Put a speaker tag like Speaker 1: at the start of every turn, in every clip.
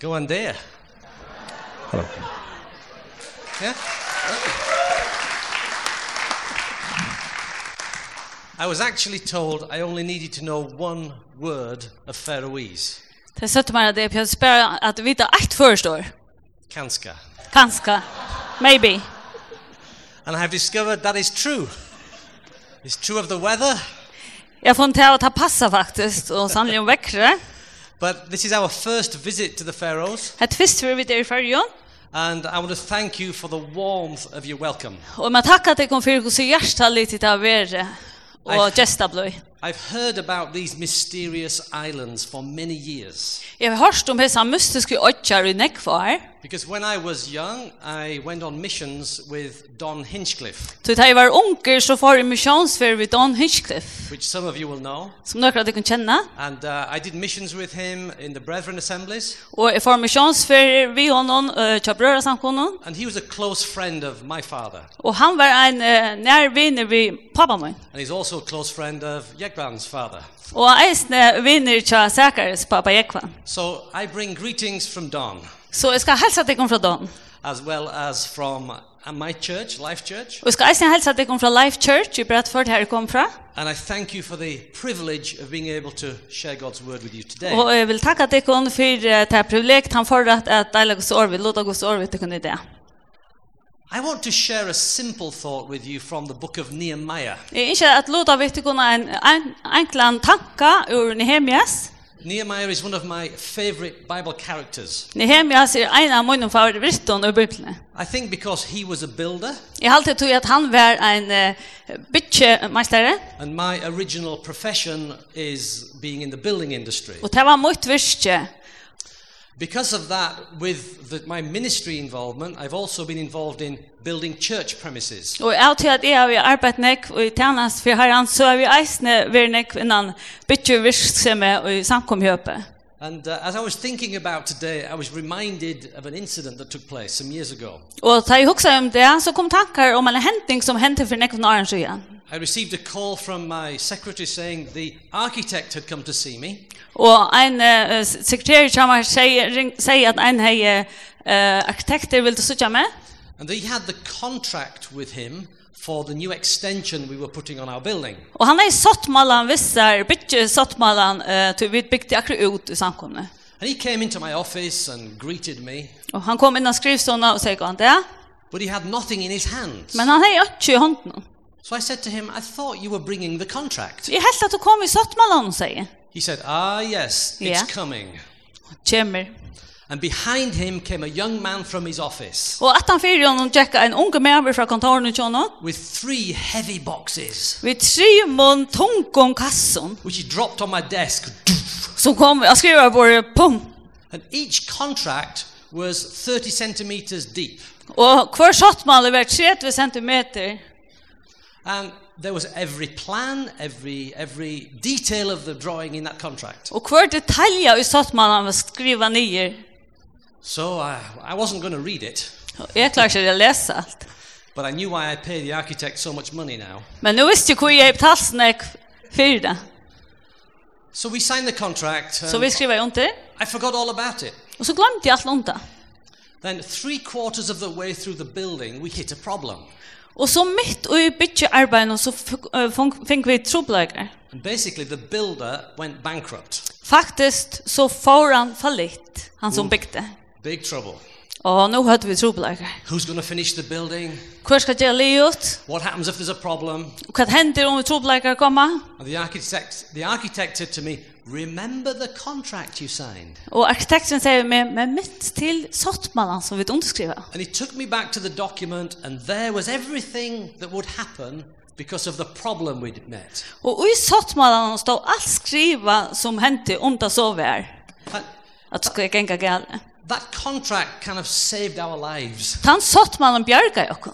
Speaker 1: Góðan dag.
Speaker 2: Hello.
Speaker 1: Yeah. I was actually told I only needed to know one word of Faroese.
Speaker 3: Det sötte man att det jag spär att vita ett förstår.
Speaker 1: Kanska.
Speaker 3: Kanske. Maybe.
Speaker 1: And I have discovered that is true. It's true of the weather,
Speaker 3: Jag får inte att ta passa faktiskt och sannolikt om väckre.
Speaker 1: but this is our first visit to the Faroes,
Speaker 3: Ett er fyrst för vi där i färjan.
Speaker 1: and I want to thank you for the warmth of your welcome.
Speaker 3: Och man tackar till kon för så hjärta lite där värre.
Speaker 1: Aj.
Speaker 3: Och gesta blöj.
Speaker 1: I've heard about these mysterious islands for many years.
Speaker 3: Jag har hört om hur mystiska ötchar i Neckvar.
Speaker 1: Because when I was young, I went on missions with Don Hinchcliffe,
Speaker 3: Så det här var onker så får i missionsfärd vid Don Hinchcliffe.
Speaker 1: which some of you will know.
Speaker 3: Som några av dig kan känna.
Speaker 1: And uh, I did missions with him in the Brethren assemblies.
Speaker 3: Och jag får missionsfärd vid honom. Uh, Tjabröra samkonen.
Speaker 1: And he was a close friend of my father.
Speaker 3: Och han var en uh, närvinner vid pappa min.
Speaker 1: And he's also a close friend of Yegban's father.
Speaker 3: Og eisne vinner tja Sakaris pappa Jekvan.
Speaker 1: So I bring greetings from Don,
Speaker 3: Så jeg skal helsa deg fra Don.
Speaker 1: as well as from uh, my church, Life Church.
Speaker 3: Og jeg skal eisne helsa deg fra Life Church i Bradford her jeg kom fra.
Speaker 1: And I thank you for the privilege of being able to share God's word with you today.
Speaker 3: Og jeg vil takka deg for eh, det her privilegiet han får at at deila gos år vid, låta gos år vid deg i det.
Speaker 1: I want to share a simple thought with you from the book of Nehemiah.
Speaker 3: Jeg ikke at låta vid deg en en- enklan tanka ur Nehemias.
Speaker 1: Nehemiah is one of my favorite Bible characters.
Speaker 3: Nehemias er en av mine favorittene ur Bibelen.
Speaker 1: I think because he was a builder
Speaker 3: Jeg halte tog at han var en uh, bytjemeistere,
Speaker 1: and my original profession is being in the building industry.
Speaker 3: og det var mot virkje.
Speaker 1: Because of that, with the, my ministry involvement, I've also been involved in building church premises.
Speaker 3: Og jeg til at jeg har arbeidt nek og i tjenest for herren, så har vi eisne vært nek innan bytje virksomme og i samkomhjøpe.
Speaker 1: And uh, as I was thinking about today, I was reminded of an incident that took place some years ago.
Speaker 3: Og da jeg hoksa om det, så kom tankar om en hending som hendte for nek for åren siden.
Speaker 1: I received a call from my secretary saying the architect had come to see me
Speaker 3: Og en uh, sekretær som har sier at en hei uh, arkitekter vil sutja med,
Speaker 1: and he had the contract with him for the new extension we were putting on our building.
Speaker 3: og han er sottmalan vissar, bytje sottmalan, uh, til vi bygde akkur ut i samkomne.
Speaker 1: And he came into my office and greeted me,
Speaker 3: Og han kom innan skrivstånda og sier han det,
Speaker 1: but he had nothing in his hands.
Speaker 3: men han hei ikke i hånden.
Speaker 1: So I said to him, I thought you were bringing the contract.
Speaker 3: Jeg helst at du kom i sottmalan, sier
Speaker 1: He said, Ah, yes, it's
Speaker 3: Yeah.
Speaker 1: coming.
Speaker 3: Kjemmer.
Speaker 1: And behind him came a young man from his office
Speaker 3: Og at han fyrir honom tjekka en unge mever fra kontoren i honom.
Speaker 1: with three heavy boxes,
Speaker 3: Vi trymon tungon kasson
Speaker 1: which he dropped on my desk.
Speaker 3: som kom og skriva vår pum.
Speaker 1: And each contract was 30 centimeters deep.
Speaker 3: Og hver shottmalle var 30 centimeter.
Speaker 1: And there was every plan, every, every detail of the drawing in that contract.
Speaker 3: Og hver detalja i shottmallen var skriva nyer.
Speaker 1: So I, I wasn't going to read it,
Speaker 3: Og Jeg klarer ikke å lese alt.
Speaker 1: but I knew why I pay the architect so much money now.
Speaker 3: Men nu visste jeg hvor jeg betalt snek fyrir det.
Speaker 1: So we signed the contract.
Speaker 3: Så
Speaker 1: And
Speaker 3: vi skriva under.
Speaker 1: I forgot all about it.
Speaker 3: Og så glemte jeg alt under.
Speaker 1: Then three quarters of the way through the building, we hit a problem.
Speaker 3: Og så mitt i bytjearbeid så fikk vi trobleikar.
Speaker 1: And basically, the builder went bankrupt.
Speaker 3: Faktisk så får han fallit, han som byggde.
Speaker 1: Big trouble.
Speaker 3: Og nå hadde vi trobleikar.
Speaker 1: Who's going to finish the building?
Speaker 3: Hvor skal jeg le ut?
Speaker 1: What happens if there's a problem?
Speaker 3: Og hva hender om vi trobleikar kommer?
Speaker 1: And the architect, the architect said to me, Remember the contract you signed.
Speaker 3: Og arkitekten sier med, med mitt til sottmannen som vi underskriver.
Speaker 1: And he took me back to the document, and there was everything that would happen because of the problem we'd met.
Speaker 3: Og i sottmannen står alt skriva som hendte om det så vær.
Speaker 1: That,
Speaker 3: er. At det skal gjenga gale.
Speaker 1: that contract kind of saved our lives.
Speaker 3: Han sottmannen bjerga jo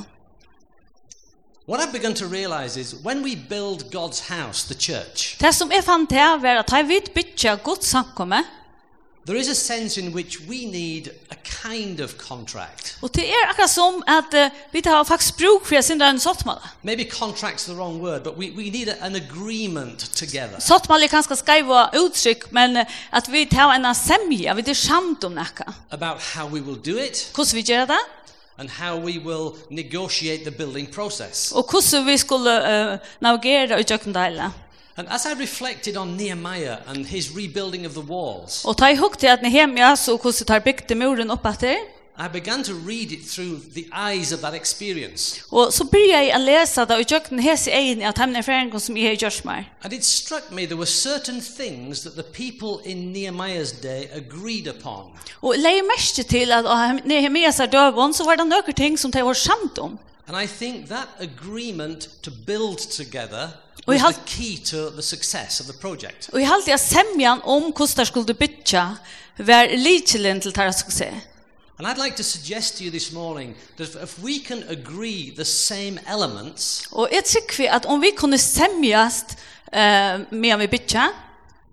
Speaker 1: What I've begun to realize is when we build God's house, the church,
Speaker 3: Det som jeg fant til var at jeg vidt bytja godt samkomme,
Speaker 1: There is a sense in which we need a kind of contract.
Speaker 3: Og det er akkurat som at eh, vi har faktisk bruk for å synda en sottmale.
Speaker 1: Maybe contract's the wrong word, but we, we need a, an agreement together.
Speaker 3: Sottmale er kanskje skaiva uttrykk, men eh, at vi tar en semja, vi er samt om nekka.
Speaker 1: about how we will do it
Speaker 3: Hvordan vi gjør det,
Speaker 1: and how we will negotiate the building process.
Speaker 3: og hvordan vi skulle uh, navigere i jøkkendeile.
Speaker 1: And as I reflected on Nehemiah and his rebuilding of the walls,
Speaker 3: Og ta i hukk til at Nehemia, så hvordan tar bygde muren er. opp etter,
Speaker 1: I began to read it through the eyes of that experience.
Speaker 3: og så byrja jeg å lese det i jøkken hese egen av temne erfaringen som jeg har gjort meg.
Speaker 1: And it struck me there were certain things that the people in Nehemiah's day agreed upon.
Speaker 3: Og jeg legger mest til at av Nehemias er døven, så var det noen ting som de var samt om.
Speaker 1: And I think that agreement to build together
Speaker 3: We
Speaker 1: was
Speaker 3: have-
Speaker 1: the key to the success of the project.
Speaker 3: Og jeg halte jeg semjan om hvordan det skulle bytja, var likelen til deres suksess.
Speaker 1: And I'd like to suggest to you this morning that if we can agree the same elements,
Speaker 3: Og jeg tykker vi at om vi kunne semjast eh, med vi bytja,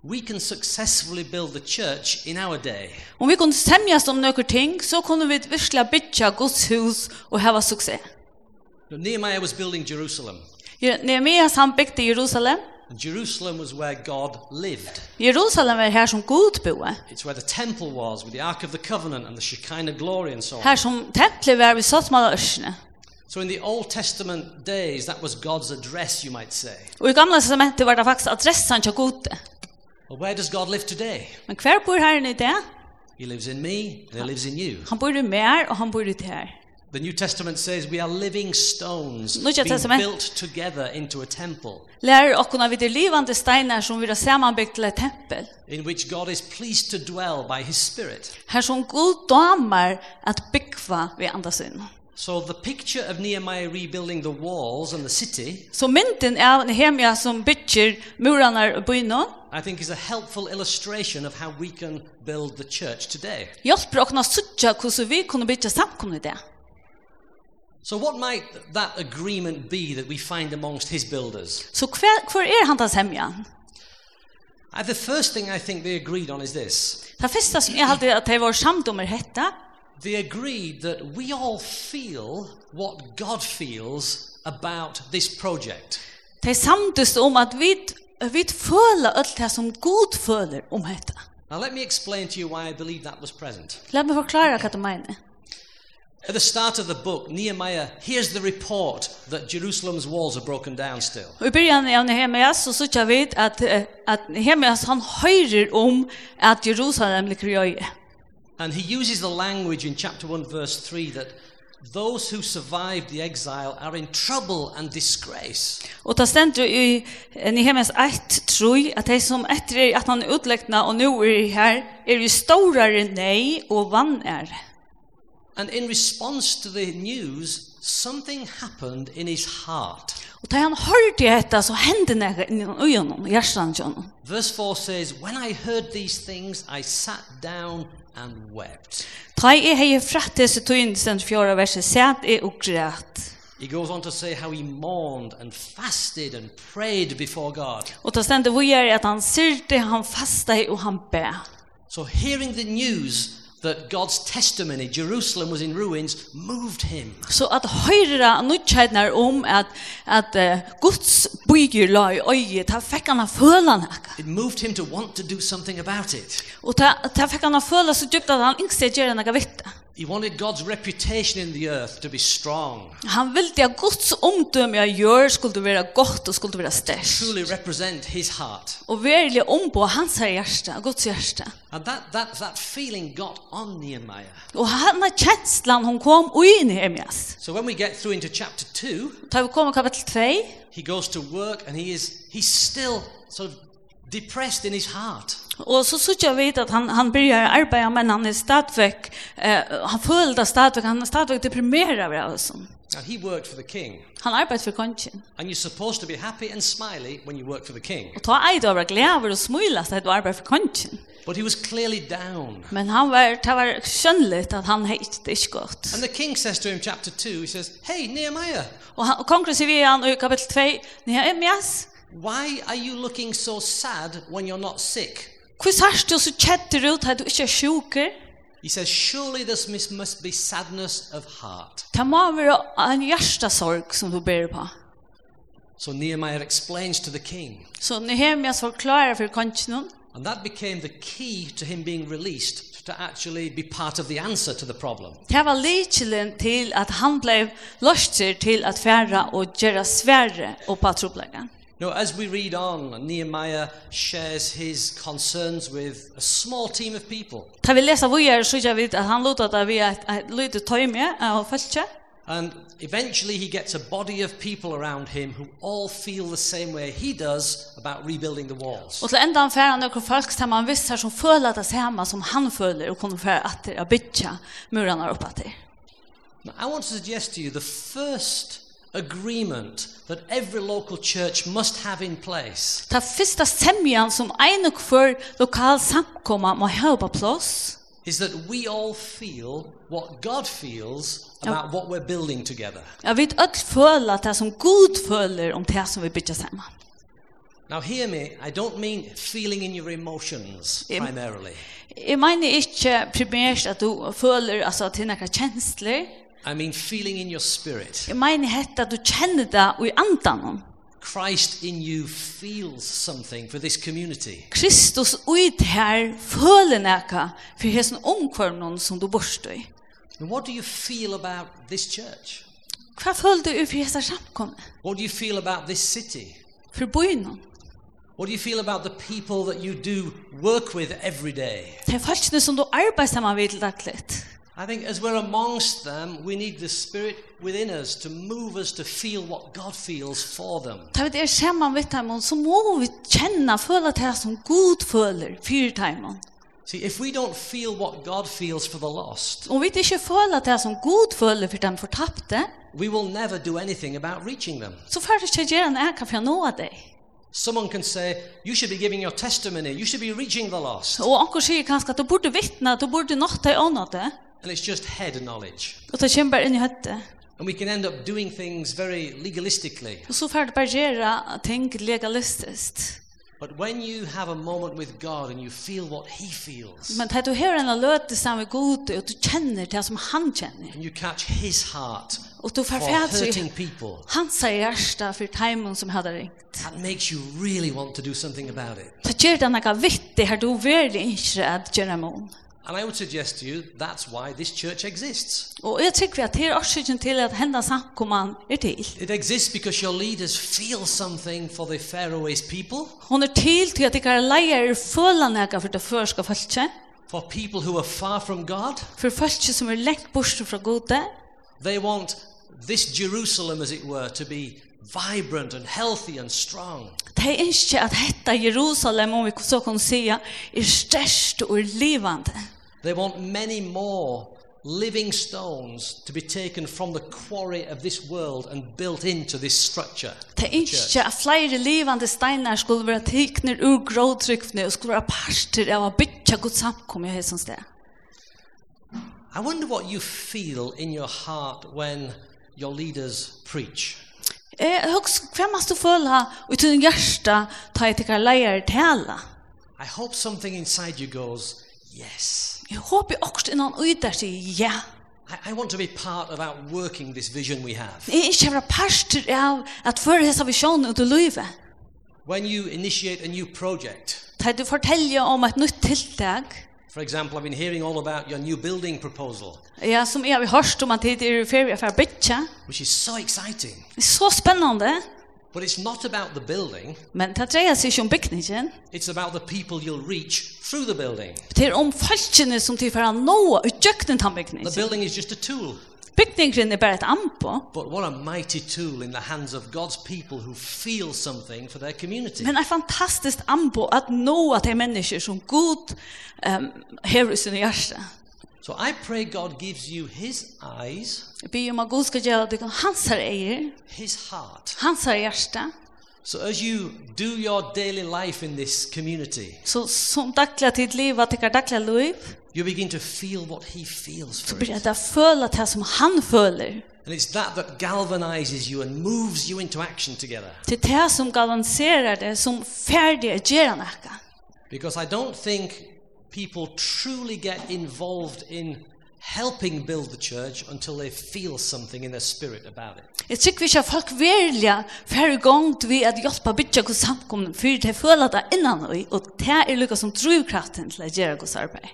Speaker 1: We can successfully build the church in our day.
Speaker 3: om vi kunne semjast om noen ting, så kunne vi virkelig bytja Guds hus og hava suksess.
Speaker 1: Nehemiah was building Jerusalem,
Speaker 3: Je- Nehemias han bygde Jerusalem.
Speaker 1: and Jerusalem was where God lived.
Speaker 3: Jerusalem er her som Gud boe.
Speaker 1: It's where the temple was with the Ark of the Covenant and the Shekinah glory and so on.
Speaker 3: Her som templet var vi satt med ørsene.
Speaker 1: So in the Old Testament days, that was God's address, you might say.
Speaker 3: Og i gamle testamentet var det faktisk adressen til Gud.
Speaker 1: Well, where does God live today?
Speaker 3: Men hver bor herren i det?
Speaker 1: He lives in me, and He lives in you.
Speaker 3: Han bor i mer, og han bor i det her.
Speaker 1: The New Testament says we are living stones
Speaker 3: New
Speaker 1: being
Speaker 3: Testament.
Speaker 1: built together into a temple
Speaker 3: Lærer okkona vid de livande steiner som vi har samanbyggt til et tempel.
Speaker 1: in which God is pleased to dwell by His Spirit.
Speaker 3: Her som Gud damer at byggva vi andra sin.
Speaker 1: So the picture of Nehemiah rebuilding the walls and the city,
Speaker 3: Så mynden av Nehemia som bygger murarna og byna,
Speaker 1: I think, is a helpful illustration of how we can build the church today.
Speaker 3: hjálper okkona suttja hvordan vi kunne byggja samkomna i det.
Speaker 1: So, what might that agreement be that we find amongst his builders?
Speaker 3: Så hver, hver er han hans hemjan?
Speaker 1: Uh, the first thing I think they agreed on is this
Speaker 3: Det første som jeg halte at de var samt om er hetta,
Speaker 1: they agreed that we all feel what God feels about this project.
Speaker 3: de samtist om at vi, vi føler alt det som Gud føler om hetta.
Speaker 1: Now, let me explain to you why I believe that was present.
Speaker 3: La meg forklare hva det mener.
Speaker 1: At the start of the book, Nehemiah hears the report that Jerusalem's walls are broken down still.
Speaker 3: Og i byrjan av Nehemias så sykja vi at, eh, at Nehemias han høyrer om at Jerusalem ligger i øye.
Speaker 1: And he uses the language in chapter 1, verse 3 that those who survived the exile are in trouble and disgrace.
Speaker 3: Og det stender i eh, Nehemias 1, tror at de som etter er at han er utlegna og nå er her, er jo storere nei og vann er.
Speaker 1: And in response to the news, something happened in his heart.
Speaker 3: Og da han hørte dette, så hendte det innan øynene, hjertan til honom.
Speaker 1: Verse 4 says, When I heard these things, I sat down and wept.
Speaker 3: Da jeg hei fratt disse tøyne, stender fjorda verset, sæt jeg og græt.
Speaker 1: He goes on to say how he mourned and fasted and prayed before God.
Speaker 3: Og da stender vi er at han syrte, han fasta og han bæ.
Speaker 1: So, hearing the news that God's testimony, Jerusalem was in ruins, moved him.
Speaker 3: Så at høyra nødkjædnar om at, at eh, Guds bygger la i øyet, ta fikk han å føle noe.
Speaker 1: It moved him to want to do something about it.
Speaker 3: Og ta, ta fikk han å føle så djupt at han ikke gjør noe vitt.
Speaker 1: He wanted God's reputation in the earth to be strong,
Speaker 3: Han ville at Guds omdømme jeg gjør skulle være godt og skulle være størst.
Speaker 1: truly represent his heart.
Speaker 3: Og verlig ombå hans her hjerte, Guds hjerte.
Speaker 1: And that, that, that feeling got on Nehemiah.
Speaker 3: Og han er kjenslan hun kom og inn i Nehemias.
Speaker 1: So when we get through into chapter 2,
Speaker 3: Da vi kommer kapittel 2,
Speaker 1: he goes to work and he is, he's still sort of depressed in his heart.
Speaker 3: og så synes jeg vidt at han, han begynner å arbeide, men han er stadigvæk, eh, han føler det stadigvæk, han er stadigvæk deprimeret av det. Sånn.
Speaker 1: Now, he worked for the king.
Speaker 3: Han arbeidde for kongen.
Speaker 1: And you're supposed to be happy and smiley when you work for the king.
Speaker 3: Og ta eit over glæver og smula seg til arbeid for kongen.
Speaker 1: But he was clearly down.
Speaker 3: Men han var, det var skjønnligt at han heit det ikke godt.
Speaker 1: And the king says to him, chapter 2, he says, Hey, Nehemiah,
Speaker 3: Og, han, og kongen sier vi han i kapitel 2, Nehemias,
Speaker 1: why are you looking so sad when you're not sick?
Speaker 3: Hvor sørst du så kjetter ut at du ikke er sjuker?
Speaker 1: He says, Surely this mis- must be sadness of heart.
Speaker 3: Det må være en hjertesorg som du ber på.
Speaker 1: So Nehemiah explains to the king.
Speaker 3: Så Nehemia så klarer for kongen.
Speaker 1: And that became the key to him being released to actually be part of the answer to the problem.
Speaker 3: Det var likelen til at han ble løster til at fære og gjøre svære og på tropleggen.
Speaker 1: Now, as we read on, Nehemiah shares his concerns with a small team of people.
Speaker 3: Da vi leser videre, så gjør vi at han lot at vi er et, et lite tøyme av følge.
Speaker 1: And eventually he gets a body of people around him who all feel the same way he does about rebuilding the walls.
Speaker 3: Og til enda han fære noen folk som han visste som føler det samme som han føler og kunne fære at det er bytja murene oppe til.
Speaker 1: Now, I want to suggest to you the first agreement that every local church must have in place
Speaker 3: Ta fyrsta semjan som ein og hver lokal samkomma må ha på plass
Speaker 1: is that we all feel what God feels about what we're building together.
Speaker 3: Jeg vet öll føla det som god føler om det som vi bytja saman.
Speaker 1: Now, hear me, I don't mean feeling in your emotions
Speaker 3: Im-
Speaker 1: primarily.
Speaker 3: Jeg mener ikke primært at du føler altså, til noen kjensler.
Speaker 1: I mean feeling in your spirit.
Speaker 3: Jeg mener hett at du kjenner det i andan.
Speaker 1: Christ in you feels something for this community.
Speaker 3: Kristus ui her føler noe for hessen omkvarnen som du borstår i.
Speaker 1: And what do you feel about this church?
Speaker 3: Hva føler du for hessen samkomne?
Speaker 1: What do you feel about this city?
Speaker 3: For byen?
Speaker 1: What do you feel about the people that you do work with every day?
Speaker 3: Det er folkene som du arbeider sammen med til daglig.
Speaker 1: I think as we're amongst them, we need the Spirit within us to move us to feel what God feels for them.
Speaker 3: Ta vet er saman vid taimon, så må vi kjenna, føla det som god føler fyrir taimon.
Speaker 1: See, if we don't feel what God feels for the lost,
Speaker 3: Om vi ikke føla det som god føler fyrir dem fortapte,
Speaker 1: we will never do anything about reaching them.
Speaker 3: så får du ikke gjøre en eka for å nå deg.
Speaker 1: Someone can say, You should be giving your testimony, you should be reaching the lost.
Speaker 3: Og anker sier kanskje at du burde vittna, du burde nått deg ånda det,
Speaker 1: And it's just head knowledge.
Speaker 3: og det kommer bare inn i høtte.
Speaker 1: And we can end up doing things very legalistically.
Speaker 3: Og så får du bare gjøre ting legalistisk.
Speaker 1: But when you have a moment with God and you feel what He feels,
Speaker 3: Men det er du hører en løte sammen med god, og du kjenner det som han kjenner,
Speaker 1: and you catch His heart
Speaker 3: og du
Speaker 1: for
Speaker 3: får fædre
Speaker 1: hurting people,
Speaker 3: han sier hjärsta fyrir taimon som hadde ringt.
Speaker 1: that makes you really want to do something about it.
Speaker 3: Så gjør det noe vittig her du virkelig ikke at gjøre mån.
Speaker 1: And I would suggest to you that's why this church exists.
Speaker 3: Og jeg tykker at det er årsaken til at hennes samkommand er til.
Speaker 1: It exists because your leaders feel something for the Faroese people,
Speaker 3: Hun er til til at ikke er leier i følene jeg for det første følelse.
Speaker 1: for people who are far from God.
Speaker 3: For følelse som er lengt bort fra gode.
Speaker 1: They want this Jerusalem, as it were, to be vibrant and healthy and strong.
Speaker 3: De ønsker at dette Jerusalem, om vi så kan si, er størst og er livende.
Speaker 1: They want many more living stones to be taken from the quarry of this world and built into this structure.
Speaker 3: De ønsker at flere livende steiner skulle være tikner ur grådrykkene og skulle være parter av å bytte god samkomme i høysens sted.
Speaker 1: I wonder what you feel in your heart when your leaders preach.
Speaker 3: Jeg husker hva man stod føle ut i hjerte ta jeg til leier tala.
Speaker 1: I hope something inside you goes, yes.
Speaker 3: Jeg håper også innan uter sier ja.
Speaker 1: I, I want to be part of outworking this vision we have.
Speaker 3: Jeg er ikke vært parster av at føre hessa visjonen ut i livet.
Speaker 1: When you initiate a new project,
Speaker 3: Da du forteller om et nytt um tiltak,
Speaker 1: for example, I've been hearing all about your new building proposal,
Speaker 3: ja, som jeg har hørt om at det er i ferie for å bytja,
Speaker 1: which is so exciting.
Speaker 3: det er så spennende,
Speaker 1: But it's not about the building,
Speaker 3: men det dreier seg um ikke om bygningen.
Speaker 1: it's about the people you'll reach through the building.
Speaker 3: Det er om falskene som til for å nå ut jøkken til
Speaker 1: The
Speaker 3: bygningen.
Speaker 1: building is just a tool,
Speaker 3: Bygningen er bare et ampo,
Speaker 1: but what a mighty tool in the hands of God's people who feel something for their community.
Speaker 3: Men er fantastisk ambo at nå at det er mennesker som god um, hever i sin hjerte.
Speaker 1: So I pray God gives you His eyes,
Speaker 3: Jeg ber om at god skal gjøre det hans her eier,
Speaker 1: His heart.
Speaker 3: hans her hjerte.
Speaker 1: So as you do your daily life in this community,
Speaker 3: Så som daglig til liv, at det er daglig liv,
Speaker 1: you begin to feel what He feels
Speaker 3: så
Speaker 1: for
Speaker 3: blir
Speaker 1: it.
Speaker 3: det føle det som han føler.
Speaker 1: And it's that that galvanizes you and moves you into action together.
Speaker 3: Det er det som galanserer det, som ferdig er gjerne noe.
Speaker 1: because I don't think people truly get involved in helping build the church until they feel something in their spirit about it.
Speaker 3: Jeg tykker ikke at folk verliga færre gong vi at hjelpa bytja hos samkommun fyrir de føler det innan og og det er lukka som drivkraften til at gjøre hos arbeid.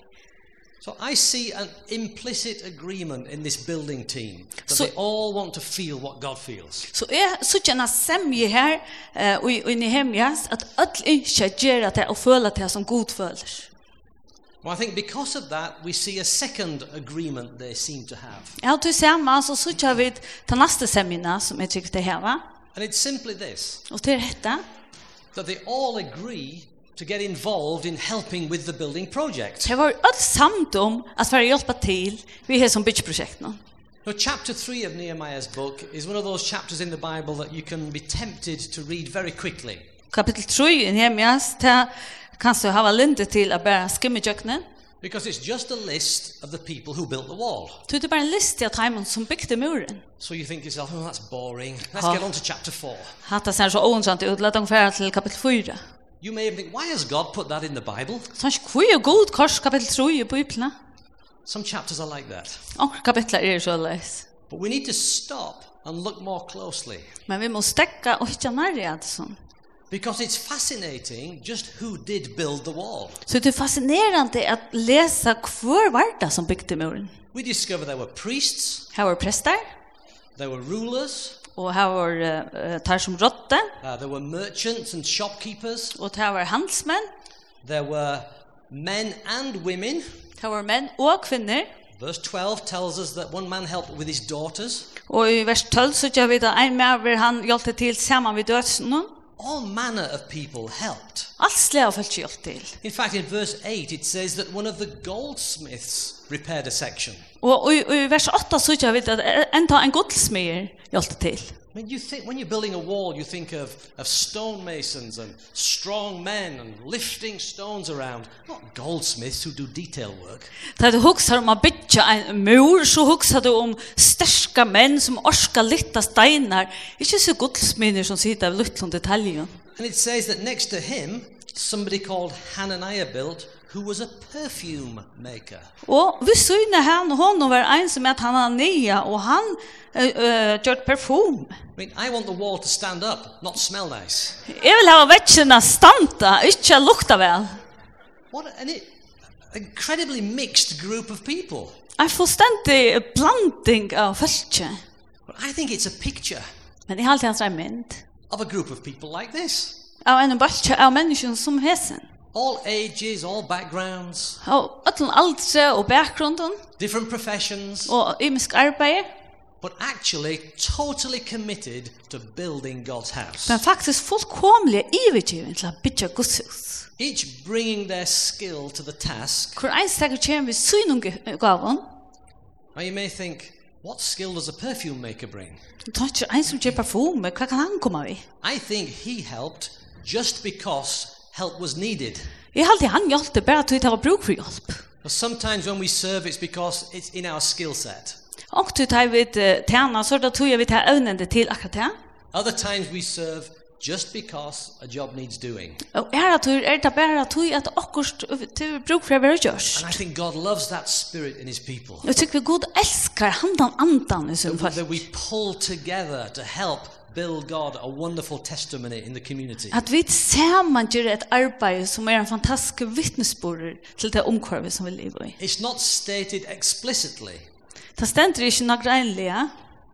Speaker 1: So I see an implicit agreement in this building team that
Speaker 3: So-
Speaker 1: they all want to feel what God feels.
Speaker 3: Så jeg sykje en semje her eh, og i- og i Nehemjas at öll ikke gjøre det og føler det som god føler.
Speaker 1: Well, I think because of that, we see a second agreement they seem to have.
Speaker 3: Jeg har til sammen så sykje vi til neste semjena som jeg tykker det her va?
Speaker 1: And it's simply this
Speaker 3: Og til dette
Speaker 1: that they all agree to get involved in helping with the building project.
Speaker 3: Det var öll samt om at være hjelpa til vi har som bytjeprosjekt nå.
Speaker 1: Now, chapter 3 of Nehemiah's book is one of those chapters in the Bible that you can be tempted to read very quickly.
Speaker 3: Kapitel 3 i Nehemjas, det kan du hava linde til å bare skimme kjøkkenen.
Speaker 1: Because it's just a list of the people who built the wall.
Speaker 3: Du er bare en liste av timen som bygde muren.
Speaker 1: So you think to yourself, oh, that's boring. Let's
Speaker 3: Huh.
Speaker 1: get on to chapter 4.
Speaker 3: Hatta ser så åndsant ut, la dem fære til kapitel 4.
Speaker 1: You may think, why has God put that in the Bible?
Speaker 3: Så ikke hvor er god kors kapitel 3 i Bibelen.
Speaker 1: Some chapters are like that.
Speaker 3: Anker kapitler er så leis.
Speaker 1: But we need to stop and look more closely.
Speaker 3: Men vi må stekka og ikke nærre av det sånn.
Speaker 1: Because it's fascinating just who did build the wall.
Speaker 3: Så det er fascinerende at lese hver var det som bygde muren.
Speaker 1: We discover there were priests,
Speaker 3: Her var prester,
Speaker 1: there were rulers,
Speaker 3: og her var uh, tar som råtte,
Speaker 1: uh, there were merchants and shopkeepers,
Speaker 3: og her var handelsmenn,
Speaker 1: there were men and women.
Speaker 3: her var menn og kvinner,
Speaker 1: Verse 12 tells us that one man helped with his daughters.
Speaker 3: Og i vers 12 så gjør vi det en maver han hjelpte til sammen med dødsene.
Speaker 1: All manner of people helped.
Speaker 3: Alt slet har følt hjelp til.
Speaker 1: In fact, in verse 8, it says that one of the goldsmiths repaired a section.
Speaker 3: Og i, og i vers 8 så gjør vi det e- enda en godsmyer hjelpte til.
Speaker 1: I mean, you think, when you're building a wall, you think of, of stonemasons and strong men and lifting stones around, not goldsmiths who do detail work.
Speaker 3: Da du hukser om å bytja en mur, så hukser du om sterske um menn som orsker litt av steiner. Ikke så godsmyer som sitter av lutt om detaljen.
Speaker 1: And it says that next to him, somebody called Hananiah built, who was a perfume maker.
Speaker 3: Og vi syne han og hon var en som at han er nye, og han uh, uh, gjør perfum.
Speaker 1: I mean, I want the wall to stand up, not smell nice.
Speaker 3: Jeg vil ha vetsjene standa, ikke lukta vel.
Speaker 1: What an i- incredibly mixed group of people.
Speaker 3: En fullstendig blanding av fölkje.
Speaker 1: But I think it's a picture
Speaker 3: Men jeg har alltid hans en mynd
Speaker 1: of a group of people like this.
Speaker 3: av en bølge av mennesken som hesen.
Speaker 1: All ages, all backgrounds,
Speaker 3: Av öllum aldre og bakgrunden
Speaker 1: different professions,
Speaker 3: og ymisk arbeid.
Speaker 1: but actually totally committed to building God's house.
Speaker 3: Men faktisk fullkomlig ivergiven til å bytja gudshus.
Speaker 1: Each bringing their skill to the task.
Speaker 3: Hvor en stekker kommer vi synungaven,
Speaker 1: Now you may think, what skill does a perfume maker bring?
Speaker 3: og tar ikke en som gjør um parfume, hva kan han komme vi?
Speaker 1: I think he helped just because help was needed.
Speaker 3: Jeg har alltid han hjelpte bare til å ha bruk for hjelp.
Speaker 1: But sometimes when we serve, it's because it's in our skill set.
Speaker 3: Og til å ta vidt tjena, så da tog jeg vidt her evnende til akkurat det.
Speaker 1: Other times we serve just because a job needs doing.
Speaker 3: Og er at du er det bare at du at akkurat du bruk for å være gjørs.
Speaker 1: And I think God loves that spirit in his people.
Speaker 3: Jeg tykker vi god elskar handan andan i sin fall.
Speaker 1: That we pull together to help build God a wonderful testimony in the community.
Speaker 3: At vi saman gjør et arbeid som er en fantastisk vittnesbord til det omkvarvet som vi lever i.
Speaker 1: It's not stated explicitly,
Speaker 3: Det stender ikke noe greinlige,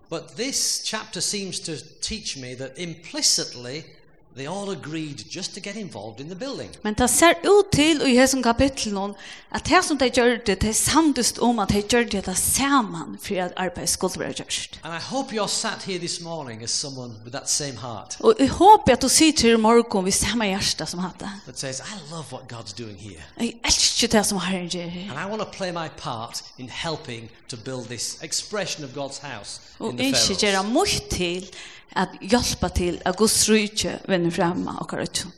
Speaker 1: but this chapter seems to teach me that implicitly they all agreed just to get involved in the building.
Speaker 3: men det ser ut til i hesson kapitlen at det som de gjør det, det er samtist om at de gjør det det saman for at arbeid skulle være gjørst.
Speaker 1: And I hope you're sat here this morning as someone with that same heart
Speaker 3: Og jeg håper at du sier til i morgen vi samme hjerte som hatt det.
Speaker 1: that says, I love what God's doing here.
Speaker 3: Jeg elsker det som herren gjør her.
Speaker 1: And I want to play my part in helping to build this expression of God's house in
Speaker 3: Og
Speaker 1: the
Speaker 3: ikke gjøre
Speaker 1: Pharaohs.
Speaker 3: mye til at hjelpe til at Guds rydde vender fremme og karrøtjen.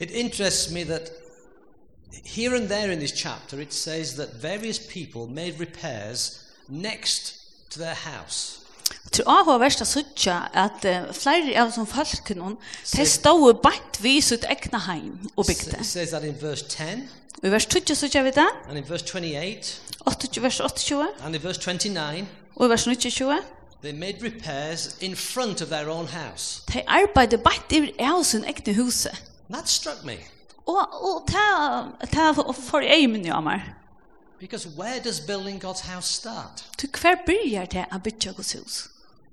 Speaker 1: It interests me that here and there in this chapter it says that various people made repairs next to their house.
Speaker 3: Jeg tror avhåverst å sutja at eh, flere av som folken hon, de stod bant vi sitt egna heim og bygde.
Speaker 1: It says that in verse 10
Speaker 3: Og i vers 20 sutja vi det,
Speaker 1: and in verse 28
Speaker 3: 28, vers 28,
Speaker 1: and in verse 29
Speaker 3: og i vers 29,
Speaker 1: they made repairs in front of their own house.
Speaker 3: de arbeidde bant i av sin egne huse.
Speaker 1: And that struck me
Speaker 3: Og, og det det for jeg min jo ammer.
Speaker 1: because where does building God's house start?
Speaker 3: Du hver byrjar det å bygge Guds hus?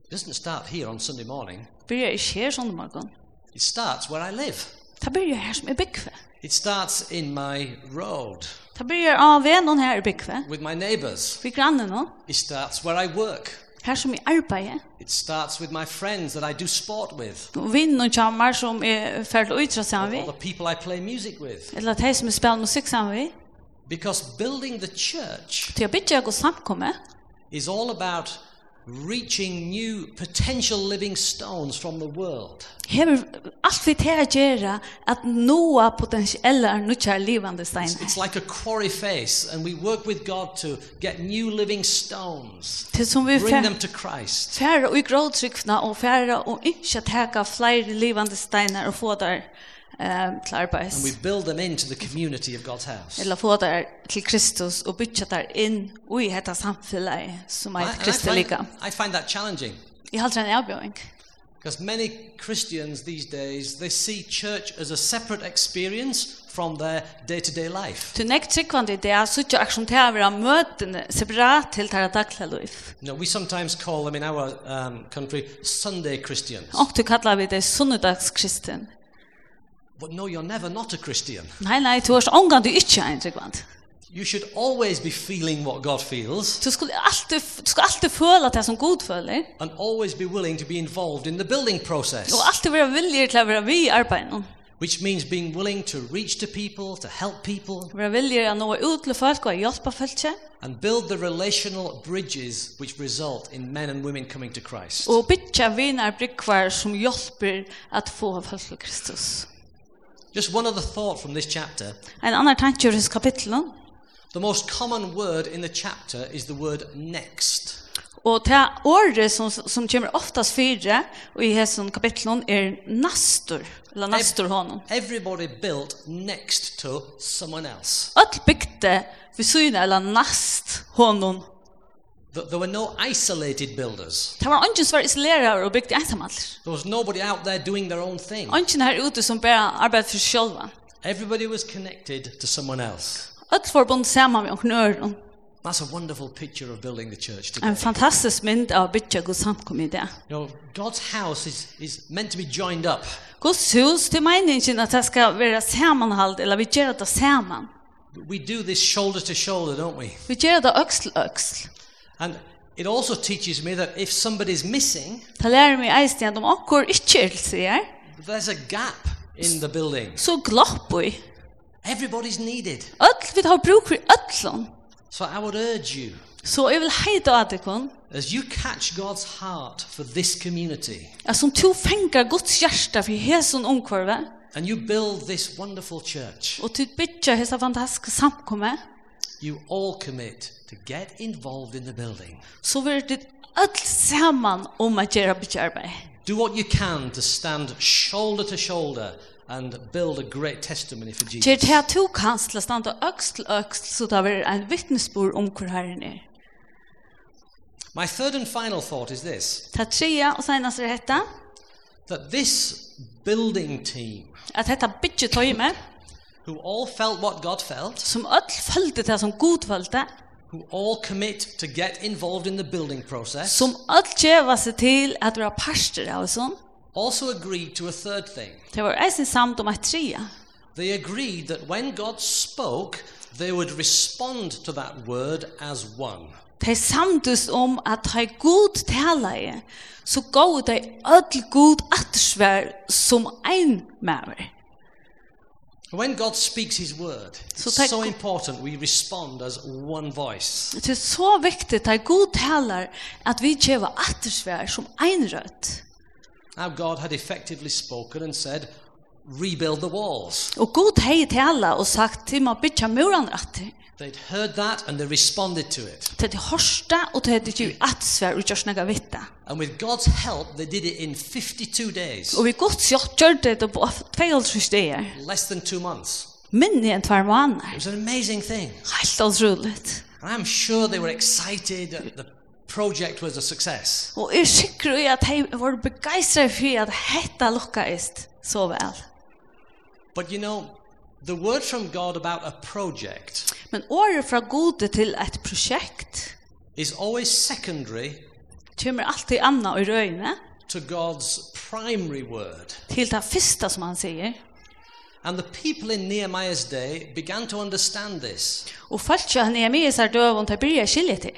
Speaker 1: It doesn't start here on Sunday morning.
Speaker 3: Byrjar ikke her sånn morgen.
Speaker 1: It starts where I live.
Speaker 3: Det byrjar her som er byggve.
Speaker 1: It starts in my road
Speaker 3: Det byrjar av vennen her i byggve.
Speaker 1: with my neighbors.
Speaker 3: Vi grannen nå,
Speaker 1: It starts where I work.
Speaker 3: her som er arbeidet.
Speaker 1: It starts with my friends that I do sport with
Speaker 3: Og vinnen og kjammer som er ferdig å ytre
Speaker 1: or
Speaker 3: sammen vi.
Speaker 1: the people I play music with
Speaker 3: Eller at de som spiller musikk sammen vi.
Speaker 1: because building the church
Speaker 3: Til å bygge og samkomme.
Speaker 1: is all about reaching new potential living stones from the world.
Speaker 3: Hever alt vi til å gjøre at noe potensielle er nødt til livende steiner.
Speaker 1: It's like a quarry face and we work with God to get new living stones.
Speaker 3: Til som vi
Speaker 1: Bring them to Christ.
Speaker 3: færre og i grådtrykkene og færre og ikke teka flere livende steiner og få der eh, til
Speaker 1: And we
Speaker 3: arbeids.
Speaker 1: build them into the community of God's house.
Speaker 3: Eller få der til Kristus og bytja der inn og i dette samfunnet som
Speaker 1: I-
Speaker 3: er
Speaker 1: and I
Speaker 3: kristelika.
Speaker 1: find, I find that challenging.
Speaker 3: Jeg halter en avbjøring.
Speaker 1: Because many Christians these days, they see church as a separate experience from their day-to-day life.
Speaker 3: Du nek tryggvande i det, så ikke akkurat til å være møtene separat til dette daglige liv.
Speaker 1: You know, we sometimes call them in our um, country Sunday Christians.
Speaker 3: Og du kallar vi det sunnedagskristen.
Speaker 1: But no, you're never not a Christian.
Speaker 3: Nei, nei, du er ångan du ikke er en tryggvand.
Speaker 1: You should always be feeling what God feels
Speaker 3: Du skulle alltid, du skulle alltid føle at det er som god føler,
Speaker 1: and always be willing to be involved in the building process,
Speaker 3: og alltid være villig til å være vi i arbeidet.
Speaker 1: which means being willing to reach to people, to help people,
Speaker 3: Være villig til å nå ut til folk og hjelpe folk,
Speaker 1: and build the relational bridges which result in men and women coming to Christ.
Speaker 3: og bytja vinar brikvar som hjelper at få folk til Kristus.
Speaker 1: Just one other thought from this chapter.
Speaker 3: En annan tanke i disse kapitlet,
Speaker 1: The most common word in the chapter is the word next.
Speaker 3: og det året som, som kommer oftast fire, og i disse kapitlet er nastor, eller nastor honom.
Speaker 1: Everybody built next to someone else.
Speaker 3: Öll bygde vi syna eller nast honom.
Speaker 1: Th- There were no isolated builders.
Speaker 3: Det var ingen som var isolerar og bygde ensamhalder.
Speaker 1: There was nobody out there doing their own thing.
Speaker 3: Ingen her ute som bara arbeidde for sig själva.
Speaker 1: Everybody was connected to someone else.
Speaker 3: Öll forbund samman med omkring öron.
Speaker 1: That's a wonderful picture of building the church today.
Speaker 3: En fantastisk mynd av bytja Guds samkom i det.
Speaker 1: You know, God's house is, is meant to be joined up.
Speaker 3: Guds hus til meningen at det skal være sammanhald, eller vi gjør det saman.
Speaker 1: We do this shoulder to shoulder, don't we?
Speaker 3: Vi gjør det øksel øksel.
Speaker 1: And it also teaches me that if somebody's missing,
Speaker 3: Det lærer meg eisen at om okkur ikke er til seg,
Speaker 1: there's a gap in the building.
Speaker 3: så glopp vi.
Speaker 1: Everybody's needed.
Speaker 3: Öll vi har bruk for öllon.
Speaker 1: So I would urge you,
Speaker 3: Så jeg vil heida at ikon,
Speaker 1: as you catch God's heart for this community
Speaker 3: at som to fengar Guds hjärsta for hesson omkvarve,
Speaker 1: and you build this wonderful church,
Speaker 3: og til bytja hessa fantastiske samkomme,
Speaker 1: you all commit to get involved in the building.
Speaker 3: så vil det öll saman om at gjøre bytja arbeid.
Speaker 1: Do what you can to stand shoulder to shoulder and build a great testimony for
Speaker 3: Gjør det
Speaker 1: Jesus.
Speaker 3: at to kanst til å standa øksel øksel, så det vil en vittnesbord om hvor herren er.
Speaker 1: My third and final thought is this
Speaker 3: Ta trea og senast er hetta,
Speaker 1: that this building team,
Speaker 3: at hetta bytje tøyme,
Speaker 1: who all felt what God felt,
Speaker 3: som öll følte det som god følte,
Speaker 1: who all commit to get involved in the building process,
Speaker 3: som öll tjeva seg til at vi har parster av sånn,
Speaker 1: also agreed to a third thing.
Speaker 3: det var eisen samt um om at trea.
Speaker 1: They agreed that when God spoke, they would respond to that word as one.
Speaker 3: De samtist om um at de god talaie, så gav de öll god attersvær som ein maver.
Speaker 1: When God speaks his word,
Speaker 3: So
Speaker 1: it's
Speaker 3: take-
Speaker 1: so important we respond as one voice.
Speaker 3: Det er så viktigt at god talar at vi tjeva attersvær som ein rødt.
Speaker 1: Now, God had effectively spoken and said, rebuild the walls.
Speaker 3: Og Gud hei tala og sagt til man bytja muran rætt.
Speaker 1: They'd heard that and they responded to it.
Speaker 3: Til det hørste og til det gjør at svær og gjørs nega vitta.
Speaker 1: And with God's help, they did it in 52 days,
Speaker 3: Og vi godt sjått gjør det det på tveihalsvis det er.
Speaker 1: less than two months.
Speaker 3: Minni enn tvær
Speaker 1: It
Speaker 3: måneder.
Speaker 1: was an amazing thing.
Speaker 3: Helt utroligt.
Speaker 1: And I'm sure they were excited that the project was a success.
Speaker 3: Og jeg er sikker i at jeg var begeistret for at hetta lukka ist så vel.
Speaker 1: But you know, the word from God about a project
Speaker 3: Men året fra gode til et projekt
Speaker 1: is always secondary
Speaker 3: kommer alltid anna i røyne
Speaker 1: to God's primary word.
Speaker 3: til det første som han sier.
Speaker 1: And the people in Nehemiah's day began to understand this
Speaker 3: Og folk han er med i seg døven til å bli skilje til.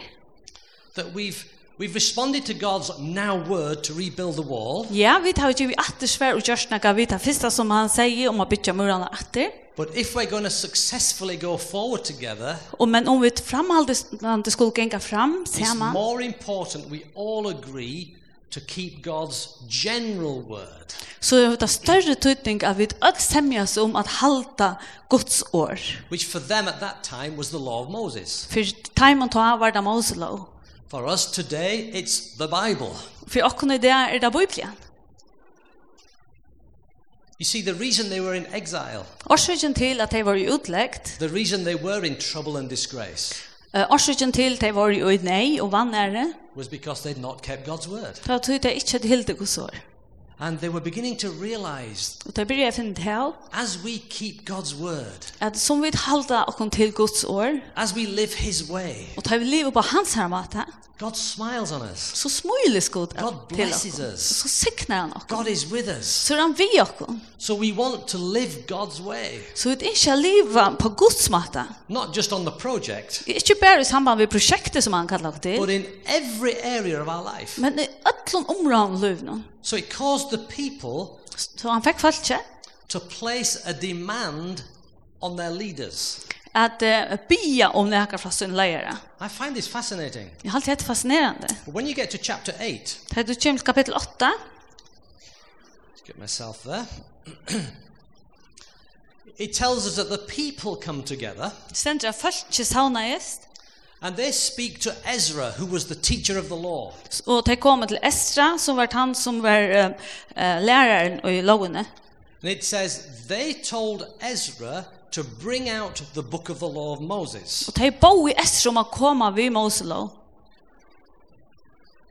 Speaker 1: that we've, we've responded to God's now word to rebuild the wall,
Speaker 3: Ja, vi tar jo vi atter svær og gjørs noe vi tar første som han sier om å bytte murene atter.
Speaker 1: but if we're going to successfully go forward together,
Speaker 3: Og men om vi framhaldet skulle genga fram,
Speaker 1: it's
Speaker 3: sammen,
Speaker 1: more important we all agree to keep God's general word.
Speaker 3: så er det større tydning at vi ødel semjas om at halda Guds år.
Speaker 1: which for them at that time was the law of Moses.
Speaker 3: For time og ta var det Moselov.
Speaker 1: For us today, it's the Bible.
Speaker 3: For okkon i det er det Bibelen.
Speaker 1: You see, the reason they were in exile,
Speaker 3: Årsøkjen til at de var i utleggt,
Speaker 1: the reason they were in trouble and disgrace,
Speaker 3: eh, årsøkjen til at de var i nei og er vannære,
Speaker 1: was because they'd not kept God's word.
Speaker 3: da tog de ikke til hilde Guds år.
Speaker 1: And they were beginning to realize
Speaker 3: Og det blir jeg finnet til
Speaker 1: as we keep God's word,
Speaker 3: at som vi halda okkon til Guds år,
Speaker 1: as we live His way,
Speaker 3: og tar vi livet på hans her måte,
Speaker 1: God smiles on us.
Speaker 3: så smøyles Gud
Speaker 1: God
Speaker 3: til
Speaker 1: blesses
Speaker 3: okkon.
Speaker 1: us.
Speaker 3: Så sikner han okkon.
Speaker 1: God is with us.
Speaker 3: Så er han vi okkon.
Speaker 1: So we want to live God's way,
Speaker 3: Så vi ikke livet på Guds er måte.
Speaker 1: not just on the project,
Speaker 3: Ikke bare i samband med projektet som han kallar okkon
Speaker 1: but
Speaker 3: til,
Speaker 1: in every area of our life.
Speaker 3: men i ötlun områden løvnum.
Speaker 1: So it caused the people
Speaker 3: Så han fikk falskje
Speaker 1: to place a demand on their leaders.
Speaker 3: at uh, bia om nekar fra sin leire.
Speaker 1: I find this fascinating.
Speaker 3: Jeg har alltid hett fascinerende.
Speaker 1: But when you get to chapter 8,
Speaker 3: Da du kommer til kapittel 8,
Speaker 1: let's get myself there. it tells us that the people come together
Speaker 3: stender at falskje sauna est,
Speaker 1: and they speak to Ezra, who was the teacher of the law.
Speaker 3: og de kommer til Estra, som var han som var uh, uh, læreren i lovene.
Speaker 1: And it says, they told Ezra to bring out the book of the law of Moses.
Speaker 3: Og de bo i Estra um om å komme ved Moselov.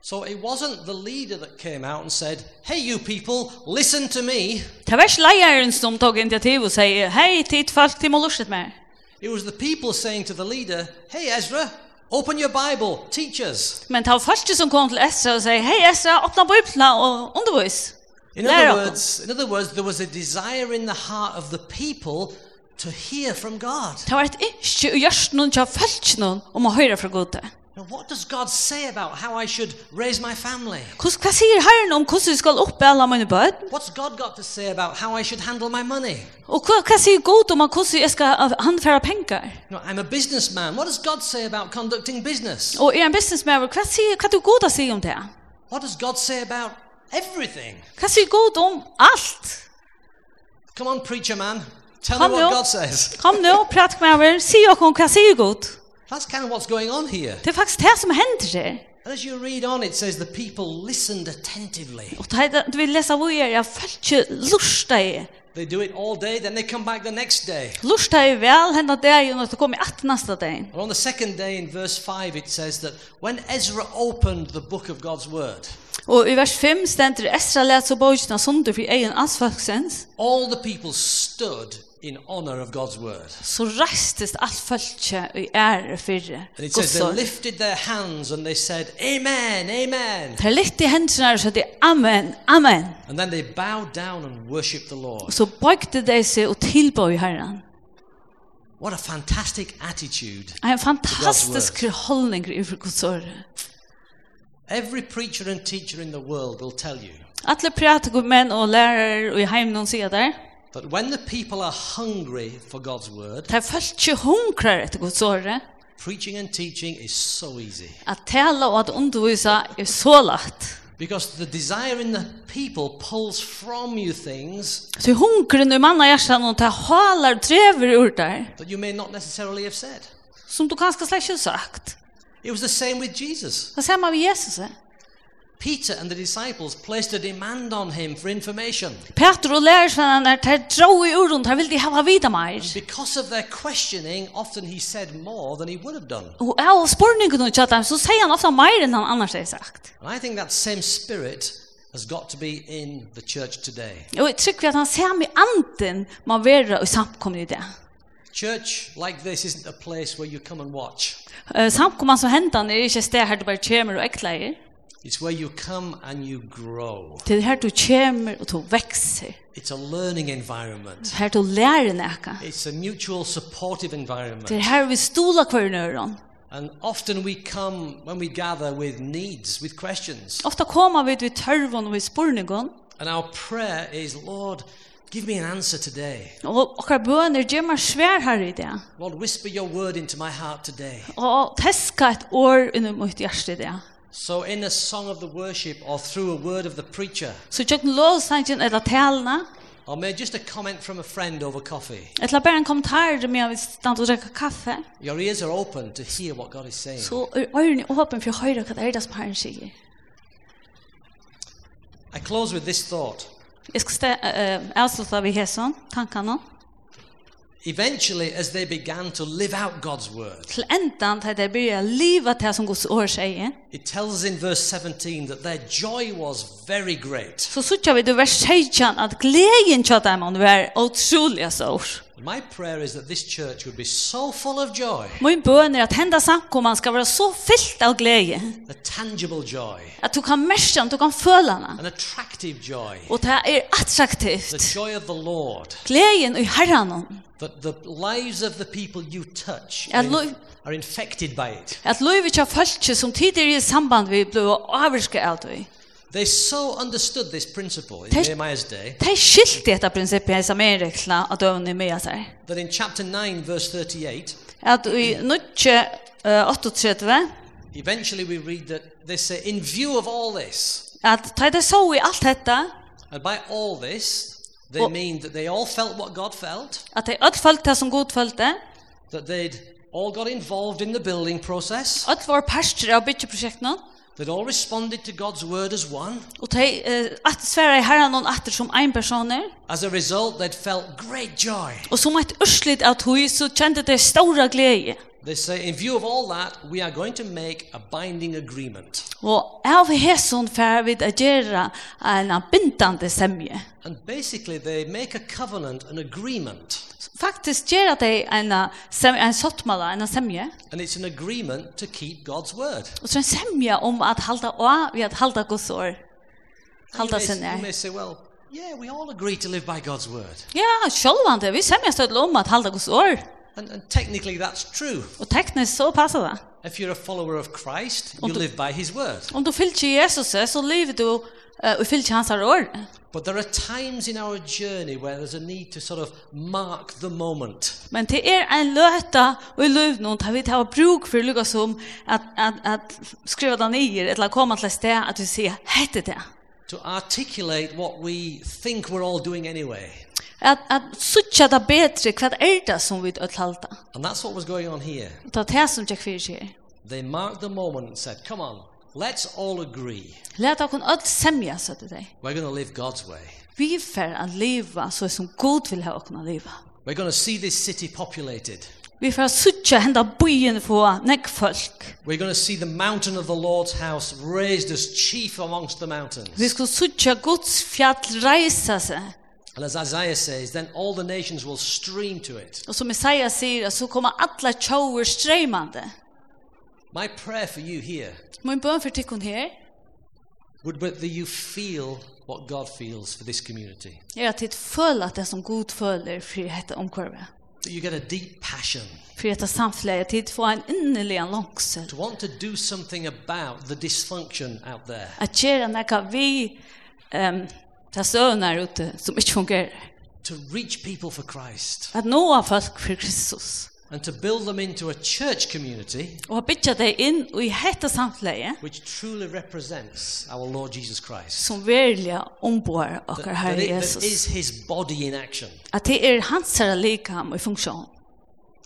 Speaker 1: So it wasn't the leader that came out and said, hey, you people, listen to me.
Speaker 3: Det var ikke leieren som tog initiativ og sier, hei, tid folk, de må lustet mer.
Speaker 1: It was the people saying to the leader, Hey Ezra, open your Bible, teach us.
Speaker 3: Men det var falskje som kom til Estra og sier, hei Estra, åpna bøyplene og undervis.
Speaker 1: In
Speaker 3: Lære
Speaker 1: other
Speaker 3: oss.
Speaker 1: words, in other words, there was a desire in the heart of the people to hear from God.
Speaker 3: Det var et ikke å gjøre noen til falskje noen om å høre fra Gode.
Speaker 1: Now, what does God say about how I should raise my family?
Speaker 3: Hus hva sier Herren om hvordan vi um skal oppe alle mine bød?
Speaker 1: What's God got to say about how I should handle my money?
Speaker 3: Og hva, hva sier Gud om at hvordan jeg skal av- handfære penger?
Speaker 1: You know, I'm a businessman. What does God say about conducting business?
Speaker 3: Og er en businessman, hva sier hva du Gud sier om det?
Speaker 1: What does God say about everything?
Speaker 3: Hva sier Gud om alt?
Speaker 1: Come on, preacher man. Tell
Speaker 3: Come
Speaker 1: me what
Speaker 3: on.
Speaker 1: God says.
Speaker 3: Kom nå, prat med over, si og hva sier Gud?
Speaker 1: That's kind of what's going on here.
Speaker 3: Det er faktisk det som hender her.
Speaker 1: And as you read on, it says the people listened attentively.
Speaker 3: Og det er- du vil lese hvor jeg har følt ikke lurt deg.
Speaker 1: They do it all day, then they come back the next day.
Speaker 3: Lurt deg vel, henne deg, og det kommer i 18 neste dag.
Speaker 1: And on the second day in verse 5, it says that when Ezra opened the book of God's word,
Speaker 3: Og i vers 5 stender Esra let så bøyene sunder for egen ansvarsens,
Speaker 1: all the people stood in honor of God's word.
Speaker 3: så reistes alt følt i ære fyrre.
Speaker 1: And it says they
Speaker 3: Guds ord.
Speaker 1: lifted their hands and they said, Amen, Amen.
Speaker 3: Det er litt i hendene her, så det er amen, amen.
Speaker 1: And then they bowed down and worshiped the
Speaker 3: Og
Speaker 1: Lord.
Speaker 3: så bøkte de seg og tilbøy herren.
Speaker 1: What a fantastic attitude.
Speaker 3: En er fantastisk holdning i for Guds år.
Speaker 1: Every preacher and teacher in the world will tell you
Speaker 3: Alle pratiker menn og lærere og i heim noen sier der,
Speaker 1: that when the people are hungry for God's word,
Speaker 3: det er følt ikke hungrer etter Guds året,
Speaker 1: preaching and teaching is so easy
Speaker 3: at tale og at undervisa er så lagt.
Speaker 1: Because the desire in the people pulls from you things
Speaker 3: Så hungren i manna hjärtan och ta halar drever ur där
Speaker 1: that you may not necessarily have said.
Speaker 3: som du kanske slash har sagt.
Speaker 1: It was the same with Jesus.
Speaker 3: Det samma med Jesus. eh?
Speaker 1: Peter and the disciples placed a demand on him for information.
Speaker 3: Peter och lärarna när de drar i uron, de vill de ha vida mer.
Speaker 1: Because of their questioning, often he said more than he would have done.
Speaker 3: Og av spurningen og tjata, så sier han ofta mer enn han annars har sagt.
Speaker 1: And I think that same spirit has got to be in the church today.
Speaker 3: Og jeg trykker at han ser med anden må være i samkomne i det.
Speaker 1: Church like this isn't a place where you come and watch.
Speaker 3: Eh, Samkomman som hentan er ikke et sted her du bare kommer og ekleier.
Speaker 1: It's where you come and you grow.
Speaker 3: Det er her du kommer og du vekser.
Speaker 1: It's a learning environment.
Speaker 3: er Her du lærer nekka.
Speaker 1: It's a mutual supportive
Speaker 3: Det
Speaker 1: environment.
Speaker 3: er her vi stoler hver nøyron.
Speaker 1: And often we come when we gather with needs, with questions.
Speaker 3: Ofta kommer vi til tørvån og i spurningen.
Speaker 1: And our prayer is, Lord, give me an answer today.
Speaker 3: Og okkar bøner gjør meg svær her i det.
Speaker 1: Lord, whisper your word into my heart today.
Speaker 3: Og teska et år under mitt hjerte i det.
Speaker 1: So, in a song of the worship or through a word of the preacher,
Speaker 3: Så tjøkken lovsangen eller talene.
Speaker 1: or maybe Oh, just a comment from a friend over coffee,
Speaker 3: Etla bare en kommentar med at vi stand og drekka kaffe.
Speaker 1: your ears are open to hear what God is saying.
Speaker 3: Så er øynene åpen for å høre hva det er det som herren sier.
Speaker 1: I close with this thought.
Speaker 3: Jeg skal ste, uh, avslutte ved hesson, tankene.
Speaker 1: Eventually, as they began to live out God's word,
Speaker 3: Til enden til det blir jeg livet til som Guds år sier.
Speaker 1: it tells us in verse 17 that their joy was very great.
Speaker 3: Så suttar vi til vers 16 at gleden til dem om det var utrolig sår.
Speaker 1: My prayer is that this church would be so full of joy,
Speaker 3: Min bøn er at henda samkomman skal være så fyllt av glede
Speaker 1: a tangible joy,
Speaker 3: at du kan merke den, du kan føle den.
Speaker 1: an attractive joy,
Speaker 3: Og det er
Speaker 1: the
Speaker 3: attraktivt.
Speaker 1: joy of the Lord,
Speaker 3: Gleden i herren
Speaker 1: that the lives of the people you touch
Speaker 3: Ja,
Speaker 1: are in-
Speaker 3: lo-
Speaker 1: are infected by it.
Speaker 3: at livet av folket som tidligere i samband vi ble avvirket av det.
Speaker 1: They so understood this principle in
Speaker 3: Thank-
Speaker 1: Nehemiah's day
Speaker 3: Det er skilt dette prinsippet i Samerikla av døvnene med seg.
Speaker 1: that in chapter 9, verse 38,
Speaker 3: At i nødtje eh, 38,
Speaker 1: eventually we read that they say, In view of all this,
Speaker 3: at da de så i alt dette,
Speaker 1: and by all this, they
Speaker 3: Well-
Speaker 1: mean that they all felt what God felt,
Speaker 3: at de alt følte det som god følte,
Speaker 1: that they'd all got involved in the building process,
Speaker 3: alt var parster av bytjeprosjektene,
Speaker 1: they'd all responded to God's word as one.
Speaker 3: og de eh, at svære i herren noen atter som en personer,
Speaker 1: As a result, they'd felt great joy.
Speaker 3: og som et urslit av tog, så kjente de store glede.
Speaker 1: They say, In view of all that, we are going to make a binding agreement.
Speaker 3: Og av hesson fær vi å gjøre en bindande semje.
Speaker 1: And basically, they make a covenant, an agreement.
Speaker 3: Faktisk gjør at det en, sem, en sottmala, en semje,
Speaker 1: And it's an agreement to keep God's word.
Speaker 3: og så en semje om um at halda å, vi at halda gods år.
Speaker 1: And
Speaker 3: Halda
Speaker 1: you,
Speaker 3: sin
Speaker 1: may, you may
Speaker 3: er.
Speaker 1: say, well, yeah, we all agree to live by God's word.
Speaker 3: Ja, sjølvande, vi semje støttel om um at halda gods år.
Speaker 1: And, and technically, that's true.
Speaker 3: Og teknisk så passer det.
Speaker 1: If you're a follower of Christ, you
Speaker 3: Und-
Speaker 1: live by his word.
Speaker 3: Om du fylgjer Jesus, så lever du eh, og fylgjer hans år.
Speaker 1: But there are times in our journey where there's a need to sort of mark the moment.
Speaker 3: Men det er en løta og i løv noen tar vi tar bruk for lukka som at, at, at skriva den i eller komme til et sted at vi sier hette det.
Speaker 1: To articulate what we think we're all doing anyway.
Speaker 3: At, at suttja det bedre hva er det som vi uthalda.
Speaker 1: And that's what was going on here.
Speaker 3: Og det er det som Jack Fyr sier.
Speaker 1: They marked the moment and said, come on, let's all agree.
Speaker 3: Læt dere kun alt semja, sa du deg.
Speaker 1: We're going to live God's way.
Speaker 3: Vi fer at leva så som god vil ha dere leva.
Speaker 1: We're going to see this city populated.
Speaker 3: Vi fer at suttja henda byen få nekk folk.
Speaker 1: We're going to see the mountain of the Lord's house raised as chief amongst the mountains.
Speaker 3: Vi skal suttja Guds fjall reisa seg.
Speaker 1: And as Isaiah says, then all the nations will stream to it.
Speaker 3: Og som Isaiah sier, så kommer alla tjauer streimande.
Speaker 1: My prayer for you here
Speaker 3: Min bøn for tikkun her
Speaker 1: would be that you feel what God feels for this community,
Speaker 3: er at det føler at det som god føler for dette omkvarvet.
Speaker 1: that you get a deep passion
Speaker 3: For dette samfunnet, at det får en innelig langsel.
Speaker 1: to want to do something about the dysfunction out there.
Speaker 3: At gjøre nekka vi um, ta søvn her ute som ikke fungerer.
Speaker 1: To reach people for Christ
Speaker 3: At nå er folk for Kristus.
Speaker 1: and to build them into a church community
Speaker 3: og har bytja deg inn i hette samfleie
Speaker 1: which truly represents our Lord Jesus Christ.
Speaker 3: som verilig omboar okkar
Speaker 1: that,
Speaker 3: Herre
Speaker 1: it- that
Speaker 3: Jesus.
Speaker 1: is his body in action.
Speaker 3: At det er hans herre likam i funksjon.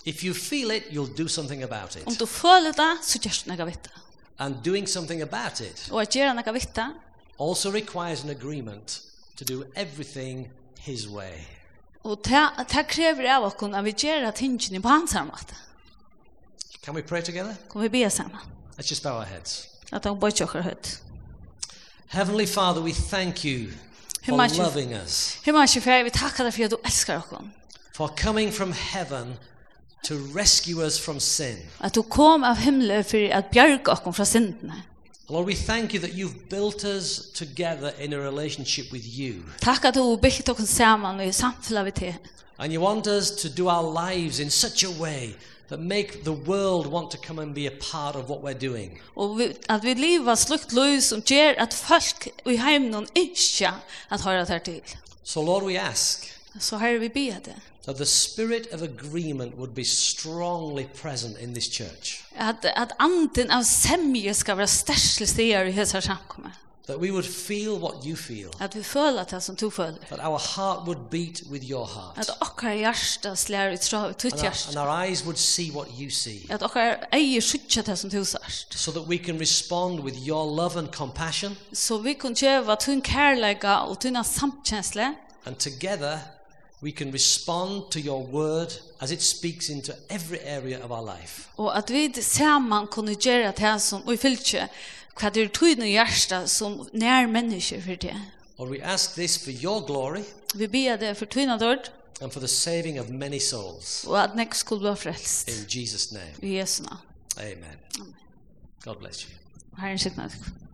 Speaker 1: If you feel it, you'll do something about
Speaker 3: Om
Speaker 1: it.
Speaker 3: du føler det, så gjørs du noe vitt det.
Speaker 1: And doing something about it
Speaker 3: Og at gjøre noe vitt det,
Speaker 1: also requires an agreement to do everything his way.
Speaker 3: og det, det krever av oss at vi gjør tingene på hans herre måte.
Speaker 1: Can we pray together?
Speaker 3: Kom vi be sammen.
Speaker 1: Let's just bow our heads.
Speaker 3: At han bøyt okkar høyt.
Speaker 1: Heavenly Father, we thank you for
Speaker 3: Himmelske-
Speaker 1: loving us,
Speaker 3: Himmelske Fær, vi takkar deg for at du elskar okkar.
Speaker 1: for coming from heaven to rescue us from sin.
Speaker 3: At du kom av himmelen for at bjerg okkar fra syndene.
Speaker 1: Lord, we thank you that you've built us together in a relationship with you.
Speaker 3: Takk at du byggt okkar saman og i samfunnet vi til.
Speaker 1: And you want us to do our lives in such a way that make the world want to come and be a part of what we're doing.
Speaker 3: Og vi, at vi lever slukt liv som gjør at folk i heimen ikke at høyre tar til.
Speaker 1: So, Lord, we ask
Speaker 3: Så herre vi be det.
Speaker 1: that the spirit of agreement would be strongly present in this church,
Speaker 3: At, at anden av semje skal være største steder i hese samkommet.
Speaker 1: that we would feel what you feel,
Speaker 3: At vi føler det som du føler.
Speaker 1: that our heart would beat with your heart,
Speaker 3: At okkar hjärsta slår i tråd i tutt
Speaker 1: and our, and
Speaker 3: hjärsta.
Speaker 1: our eyes would see what you see,
Speaker 3: At okkar eier skjutja det som du sørst.
Speaker 1: so that we can respond with your love and compassion,
Speaker 3: Så vi kan kjøve tunn kærleika og tunna samtkjensle.
Speaker 1: and together we can respond to your word as it speaks into every area of our life.
Speaker 3: Og at vi saman kunne gjøre det som vi fylkje. Hva det er tøyne hjärsta som nær mennesker for det.
Speaker 1: Lord, we ask this for your glory
Speaker 3: Vi ber det for tøyne dård.
Speaker 1: and for the saving of many souls.
Speaker 3: Og at nek skulle bli frelst.
Speaker 1: In Jesus' name,
Speaker 3: I Jesu navn.
Speaker 1: amen. God bless you.
Speaker 3: Herren sitt navn.